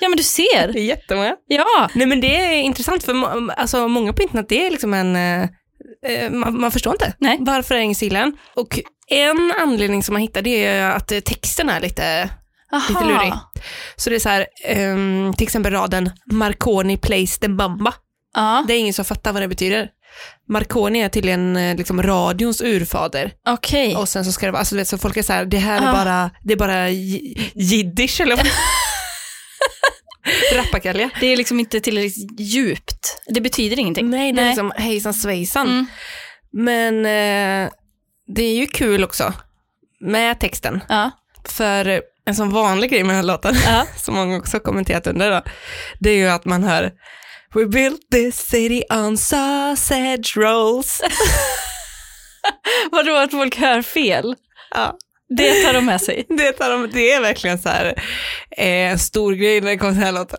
A: Ja men du ser.
B: Ah, Det är jättemånga.
A: Ja.
B: Nej men det är intressant för må- alltså, många på internet det är liksom en, eh, eh, man, man förstår inte.
A: Nej.
B: Varför är ingen gillar den? Och en anledning som man hittar det är att eh, texten är lite, lite lurig. Så det är så här, ehm, till exempel raden Marconi plays the bamba.
A: Ja,
B: Det är ingen som fattar vad det betyder. Marconi är tydligen eh, liksom radions urfader.
A: okej.
B: Och sen så ska det vara, alltså du vet så folk är så här, det här är
A: Ah.
B: bara, det är bara j- jiddisch eller vad? Rappakalja.
A: Det är liksom inte tillräckligt djupt. Det betyder ingenting.
B: Nej, det är
A: Nej.
B: liksom hejsan svejsan.
A: Mm.
B: Men eh, det är ju kul också med texten.
A: Ja.
B: För en sån vanlig grej med den här låten,
A: Ja.
B: som många också har kommenterat under, då, det är ju att man hör We built this city on sausage rolls.
A: Vadå att folk hör fel?
B: Ja,
A: Det tar de med sig.
B: det, tar de, det är verkligen så här eh, en stor grej när det kommer till den här låten.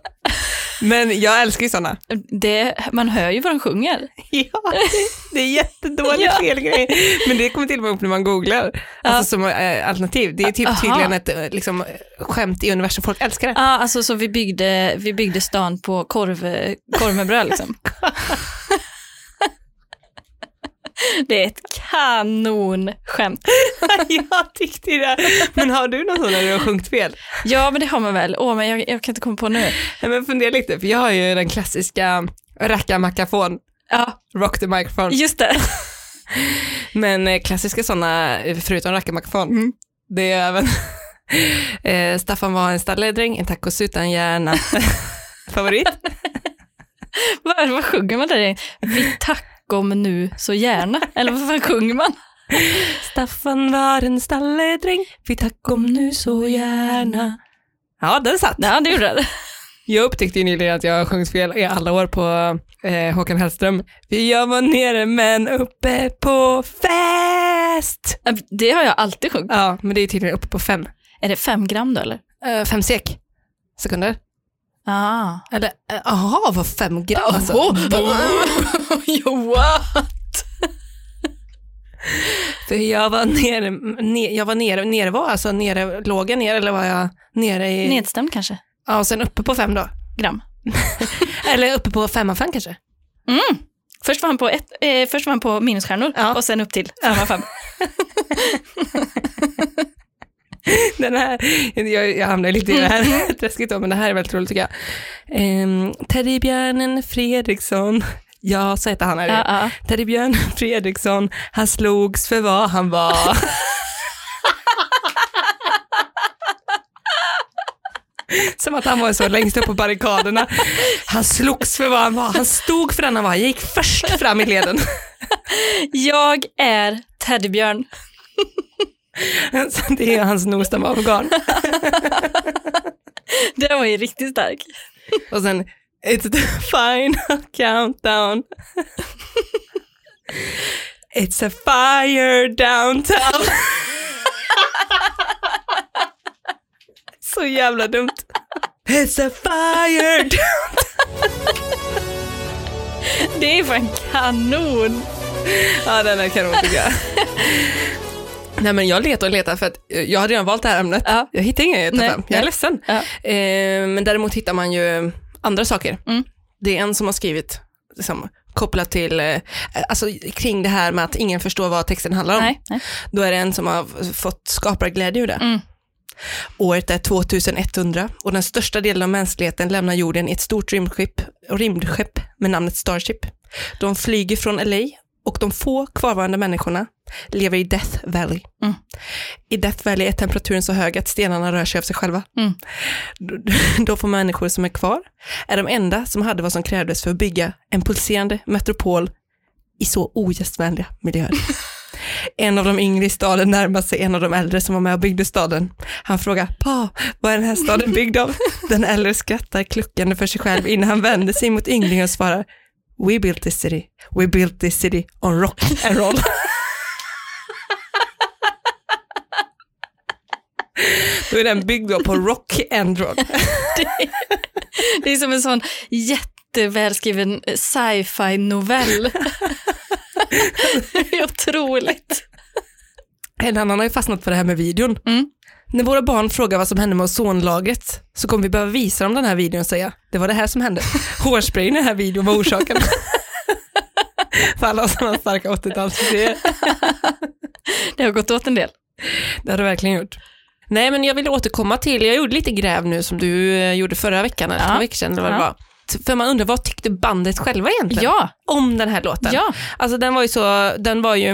B: Men jag älskar ju sådana.
A: Det, man hör ju vad de sjunger.
B: Ja, det- det är jättedåligt
A: Ja.
B: fel grej. Men det kommer till och med upp när man googlar. Alltså som eh, alternativ. Det är typ
A: Aha.
B: tydligen ett eh, liksom, skämt i universum. Folk älskar det.
A: Ja, alltså så vi byggde, vi byggde stan på korv, korv med bröd liksom. Det är ett kanonskämt.
B: jag tyckte ju det. Men har du någon sån där du har sjungit fel?
A: Ja, men det har man väl. Åh, men jag, jag kan inte komma på nu.
B: Nej, men fundera lite, för jag har ju den klassiska rackarmackafon.
A: Ja,
B: Rock the microphone.
A: just det.
B: Men eh, klassiska sådana, eh, förutom rackarmackafon,
A: Mm.
B: det är även eh, Staffan var en stalledräng, en tacos utan hjärna. Favorit?
A: Vad, vad sjunger man där? Vi tackom nu så gärna. Eller vad fan sjunger man?
B: Staffan var en stalledräng, vi tack om nu så gärna. Ja, den satt.
A: Ja, det gjorde det.
B: Jag upptäckte ju nyligen att jag har sjungit fel i alla år på eh, Håkan Hellström. Vi jag var nere men uppe på fest.
A: Det har jag alltid sjungit.
B: Ja, men det är tydligen uppe på fem.
A: Är det fem gram då eller?
B: Eh, fem sek. Sekunder.
A: Ah.
B: Eller, eh, aha, vad fem gram alltså.
A: What?
B: För jag var nere, ne, jag var nere, nere var alltså nere, låg jag ner eller var jag nere i,
A: Nedstämd kanske?
B: ja och sen uppe på fem då.
A: Gram.
B: Eller uppe på fem av fem kanske.
A: Först var han på, ett, eh, först var han på minusstjärnor
B: Ja.
A: och sen upp till samma fem.
B: Den här, jag, jag hamnar lite i det här
A: Mm.
B: träsket då, men det här är väldigt roligt tycker jag. Ehm, Teddybjörnen Fredriksson, ja så heter han här.
A: Ja, ja.
B: Teddybjörnen Fredriksson, han slogs för vad han var. Som att han var så längst upp på barrikaderna. Han slogs för vad han var, han stod för den han var, han gick först fram i leden.
A: Jag är teddybjörn.
B: Så det är hans nos där var afghan.
A: Den var ju riktigt stark.
B: Och sen, it's the final countdown. It's a fire downtown. Så jävla dumt. It's a fire downtown.
A: Det är fan kanon.
B: Ja, den är kanon tycker jag. Nej men jag letar och letar för att eh, jag hade redan valt det här ämnet.
A: Ja.
B: Jag hittar inga jag tar
A: Nej,
B: fram. Jag är
A: nej.
B: ledsen.
A: Ja.
B: Eh, men däremot hittar man ju andra saker.
A: Mm.
B: Det är en som har skrivit, liksom, kopplat till, eh, alltså kring det här med att ingen förstår vad texten handlar om.
A: Nej, nej.
B: Då är det en som har fått skaparglädje ur det.
A: Mm.
B: Året är 2100 och den största delen av mänskligheten lämnar jorden i ett stort rymdskepp, rymdskepp med namnet Starship. De flyger från LA och de få kvarvarande människorna lever i Death Valley.
A: Mm.
B: I Death Valley är temperaturen så hög att stenarna rör sig av sig själva.
A: Mm.
B: Då- Då får människor som är kvar är de enda som hade vad som krävdes för att bygga en pulserande metropol i så ogästvänliga miljöer. En av de yngre i staden närmar sig en av de äldre som var med och byggde staden. Han frågar, pa, vad är den här staden byggd av? Den äldre skrattar kluckande för sig själv innan han vänder sig mot ynglingen och svarar, We built this city, we built this city on rock and roll. Då är den byggd då på rock and roll.
A: Det är som en sån jättevälskriven sci-fi novell. det är otroligt.
B: En annan har ju fastnat på det här med videon.
A: Mm.
B: När våra barn frågar vad som hände med ozonlagret så kommer vi behöva visa dem den här videon och säga det var det här som hände. Hårsprayen i den här videon var orsaken. För alla som har starka 80-talsidéer.
A: Det har gått åt en del.
B: Det har du verkligen gjort. Nej, men jag vill återkomma till, jag gjorde lite gräv nu som du eh, gjorde förra veckan, eller
A: Ja.
B: förra veckan eller vad det
A: Ja.
B: var. T- För man undrar, vad tyckte bandet själva egentligen
A: Ja,
B: om den här låten?
A: ja,
B: Alltså den var ju så, den var ju,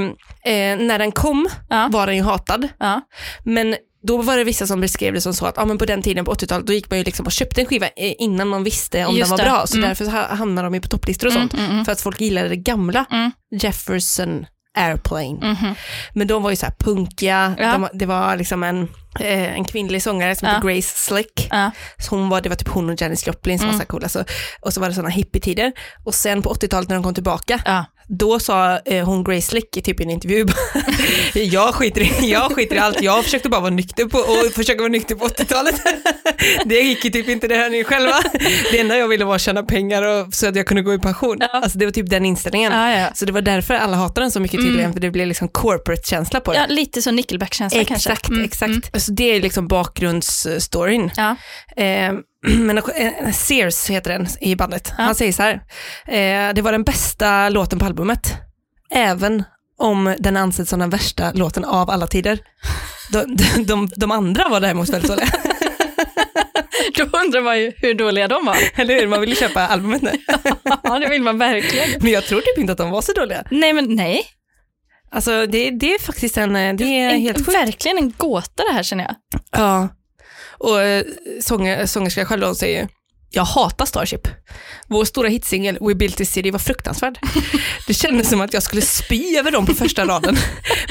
B: eh, när den kom
A: ja.
B: var den ju hatad,
A: ja.
B: men då var det vissa som beskrev det som så att ah, men på den tiden på 80-talet då gick man ju liksom och köpte en skiva eh, innan man visste om
A: Just
B: den var
A: det.
B: bra, så
A: Mm.
B: därför ha- hamnade de ju på topplistor och sånt.
A: Mm, mm, mm.
B: För att folk gillade det gamla
A: Mm.
B: Jefferson Airplane.
A: Mhm.
B: Men de var ju så här punkiga,
A: Ja.
B: de, var- det var liksom en, eh, en kvinnlig sångare som
A: Ja.
B: hette Grace Slick.
A: Ja. Mm.
B: Så Hon var, det var typ hon och Janis Joplin som var så här coola. Så, och så var det sådana hippietider. Och sen på 80-talet när de kom tillbaka,
A: Ja.
B: då sa eh, hon Grace Slick i typ en intervju, jag skiter, i, jag skiter i allt, jag försökte bara vara nykter på, och försöka vara nykter på 80-talet. det gick ju typ inte det här ni själva. Det enda jag ville var att tjäna pengar och, så att jag kunde gå i pension. Alltså det var typ den inställningen.
A: Ja, ja. Mm.
B: Så det var därför alla hatade den så mycket tydligen, för det blev liksom corporate-känsla på det.
A: ja, lite så Nickelback-känsla kanske.
B: Exakt,
A: Mm,
B: exakt.
A: mm.
B: Så det är liksom bakgrundsstoryn.
A: Ja.
B: Eh, men eh, Sears heter den i bandet. Han säger så här, eh, det var den bästa låten på albumet, även om den anses som den värsta låten av alla tider. De, de, de, de andra var däremot väldigt dåliga,
A: Då undrar man ju hur dåliga de var.
B: eller hur? Man ville köpa albumet nu.
A: Ja, det vill man verkligen.
B: Men jag tror typ inte att de var så dåliga.
A: Nej, men nej.
B: Alltså det, det är faktiskt en, eh, det är
A: En,
B: helt sjukt.
A: verkligen en gåta det här känner jag.
B: Ja. Och eh, sånger, sångerskan själv hon säger jag hatar Starship. Vår stora hitsingel We Built This City var fruktansvärd. Det kändes som att jag skulle spy över dem på första raden.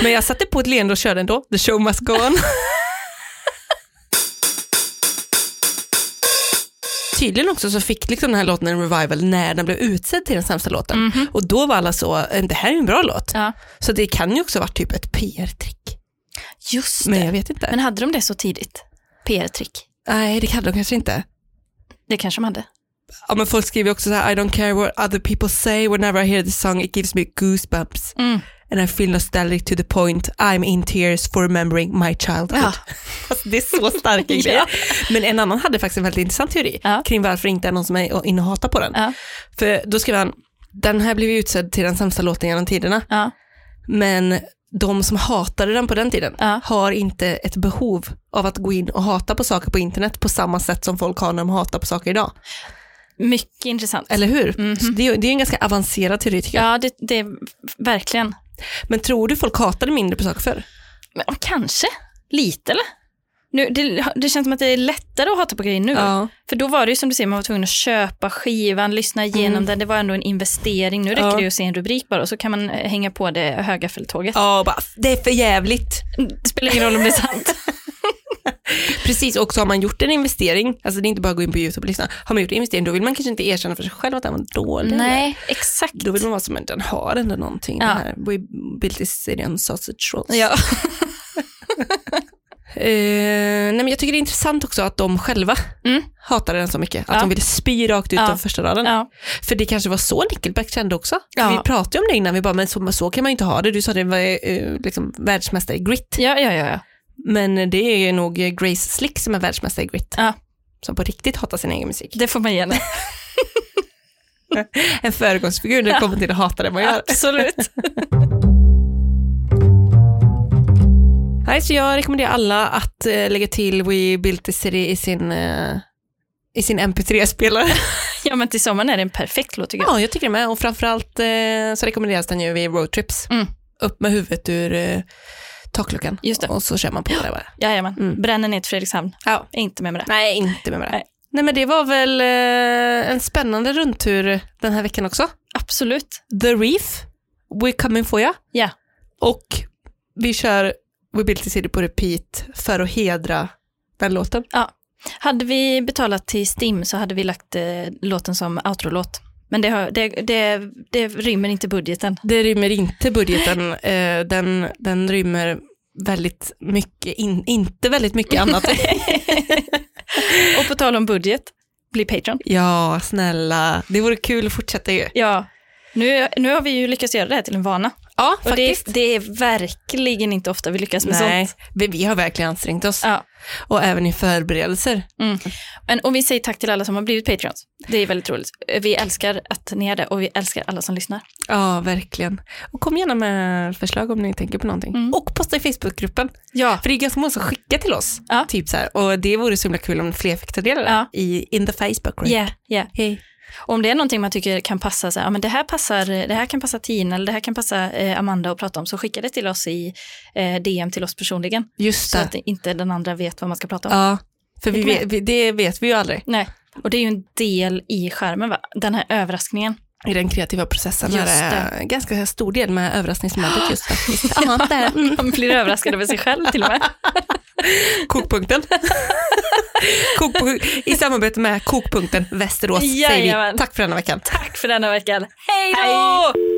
B: Men jag satte på ett leende och körde ändå. The show must go on. Tydligen också så fick liksom den här låten en revival när den blev utsedd till den sämsta låten.
A: Mhm.
B: Och då var alla så, eh, det här är ju en bra låt.
A: Ja.
B: Så det kan ju också ha varit typ ett PR-trick.
A: Just det.
B: Men
A: Men,
B: jag vet inte.
A: hade de det så tidigt? PR-trick.
B: Nej, det kan de kanske inte.
A: Det kanske de hade.
B: Ja, men folk skriver också så här, I don't care what other people say, whenever I hear this song it gives me goosebumps
A: Mm.
B: and I feel nostalgic to the point I'm in tears for remembering my childhood.
A: Ja.
B: Alltså, det är så starka
A: Ja.
B: grejer. Men en annan hade faktiskt en väldigt intressant teori
A: Ja.
B: kring varför inte är någon som är inne och hatar på den.
A: Ja.
B: För då skrev han, den här blev ju utsedd till den sämsta låten genom tiderna,
A: Ja.
B: men de som hatade den på den tiden
A: Ja.
B: har inte ett behov av att gå in och hata på saker på internet på samma sätt som folk har när de hatar på saker idag.
A: Mycket intressant.
B: Eller hur? Så det, är ju- det är ju en ganska avancerad teori tycker jag.
A: Ja, det, det är verkligen.
B: Men tror du folk hatade mindre på saker förr?
A: Men, ja, kanske. Lite eller? Nu, det, det känns som att det är lättare att hata på grejer nu. För då var det ju som du säger, man var tvungen att köpa skivan, lyssna igenom den. Det var ändå en investering. Nu räcker
B: Mm. Ja.
A: det ju att se en rubrik bara och så kan man eh, hänga på det höga fälttåget.
B: Ja, och bara, det är för jävligt.
A: Det spelar ingen roll om det är sant.
B: Precis, och så har man gjort en investering, alltså det är inte bara att gå in på YouTube och lyssna, har man gjort en investering då vill man kanske inte erkänna för sig själv att den var dålig.
A: Nej, exakt.
B: Då vill man vara som en, den har ändå någonting.
A: Ja.
B: Den här, we built this city on sausage rolls.
A: Ja.
B: Eh, nej men jag tycker det är intressant också att de själva
A: Mm.
B: hatade den så mycket, att
A: Ja.
B: de ville spy rakt ut
A: Ja.
B: av första raden.
A: Ja.
B: För det kanske var så Nickelback kände också.
A: Ja.
B: Vi pratade ju om det innan, vi bara, men så, så kan man ju inte ha det. Du sa det var eh, liksom, världsmästare i grit.
A: Ja, ja, ja, ja.
B: Men det är ju nog Grace Slick som är världsmästare i grit.
A: Ja.
B: Som på riktigt hatar sin egen musik.
A: Det får man ge henne.
B: En föregångsfigur när det kommer till att hata det man gör.
A: Absolut.
B: Nej, så jag rekommenderar alla att eh, lägga till We Built the City i sin, eh, i sin mp3-spelare.
A: Ja, men till sommaren är det en perfekt låt tycker jag.
B: ja, jag tycker det med. Och framförallt eh, så rekommenderas den ju vid roadtrips.
A: Mm.
B: Upp med huvudet ur eh, takluckan
A: Just det.
B: och så kör man på det där bara.
A: Jajamän.
B: Mm.
A: Bränner ner till Fredrikshamn.
B: Ja.
A: Är Inte med med det.
B: Nej, inte med det.
A: Nej.
B: Nej. Nej, men det var väl eh, en spännande rundtur den här veckan också.
A: Absolut.
B: The Reef, We Coming For Ya.
A: Ja.
B: Och vi kör We Built This City på repeat för att hedra den låten.
A: Hade vi betalat till Stim så hade vi lagt eh, låten som outro-låt Men det, har, det, det, det rymmer inte budgeten.
B: Det rymmer inte budgeten. Eh, den, den rymmer väldigt mycket, in, inte väldigt mycket annat.
A: Och på tal om budget, bli Patreon.
B: ja, snälla. Det vore kul att fortsätta ju.
A: Ja, nu, nu har vi ju lyckats göra det här till en vana.
B: Ja,
A: Och det, det är verkligen inte ofta vi lyckas med
B: Nej,
A: sånt.
B: vi, vi har verkligen ansträngt oss.
A: Ja.
B: Och även i förberedelser.
A: Mm. Men, och vi säger tack till alla som har blivit Patreons. Det är väldigt roligt. Vi älskar att ni är det och vi älskar alla som lyssnar.
B: Ja, verkligen. Och kom gärna med förslag om ni tänker på någonting.
A: Mm.
B: Och posta i Facebookgruppen.
A: Ja.
B: För det är ganska många som skickar till oss.
A: Ja.
B: Typ så här. Och det vore så himla kul om fler fick ta del av det.
A: Ja.
B: I in the Facebook group.
A: Yeah, yeah.
B: Hej.
A: Och om det är någonting man tycker kan passa, så här, ja, men det, här passar det här kan passa Tina eller det här kan passa eh, Amanda att prata om, så skicka det till oss i eh, DM till oss personligen.
B: Just
A: Så
B: det.
A: att inte den andra vet vad man ska prata om.
B: Ja, för vi
A: Häng med.
B: vet, vi, det vet vi ju aldrig
A: Nej, och det är ju en del i skärmen, va? den här överraskningen.
B: i den kreativa processen.
A: Just
B: är det en ganska stor del med överraskningsmomentet just faktiskt. Ja, där. Mm.
A: Man blir överraskad över sig själv till och med.
B: Kokpunkten. Kokpunk- I samarbete med Kokpunkten Västerås säger vi
A: Jajamän.
B: tack för denna veckan.
A: Tack för denna veckan. Hej då!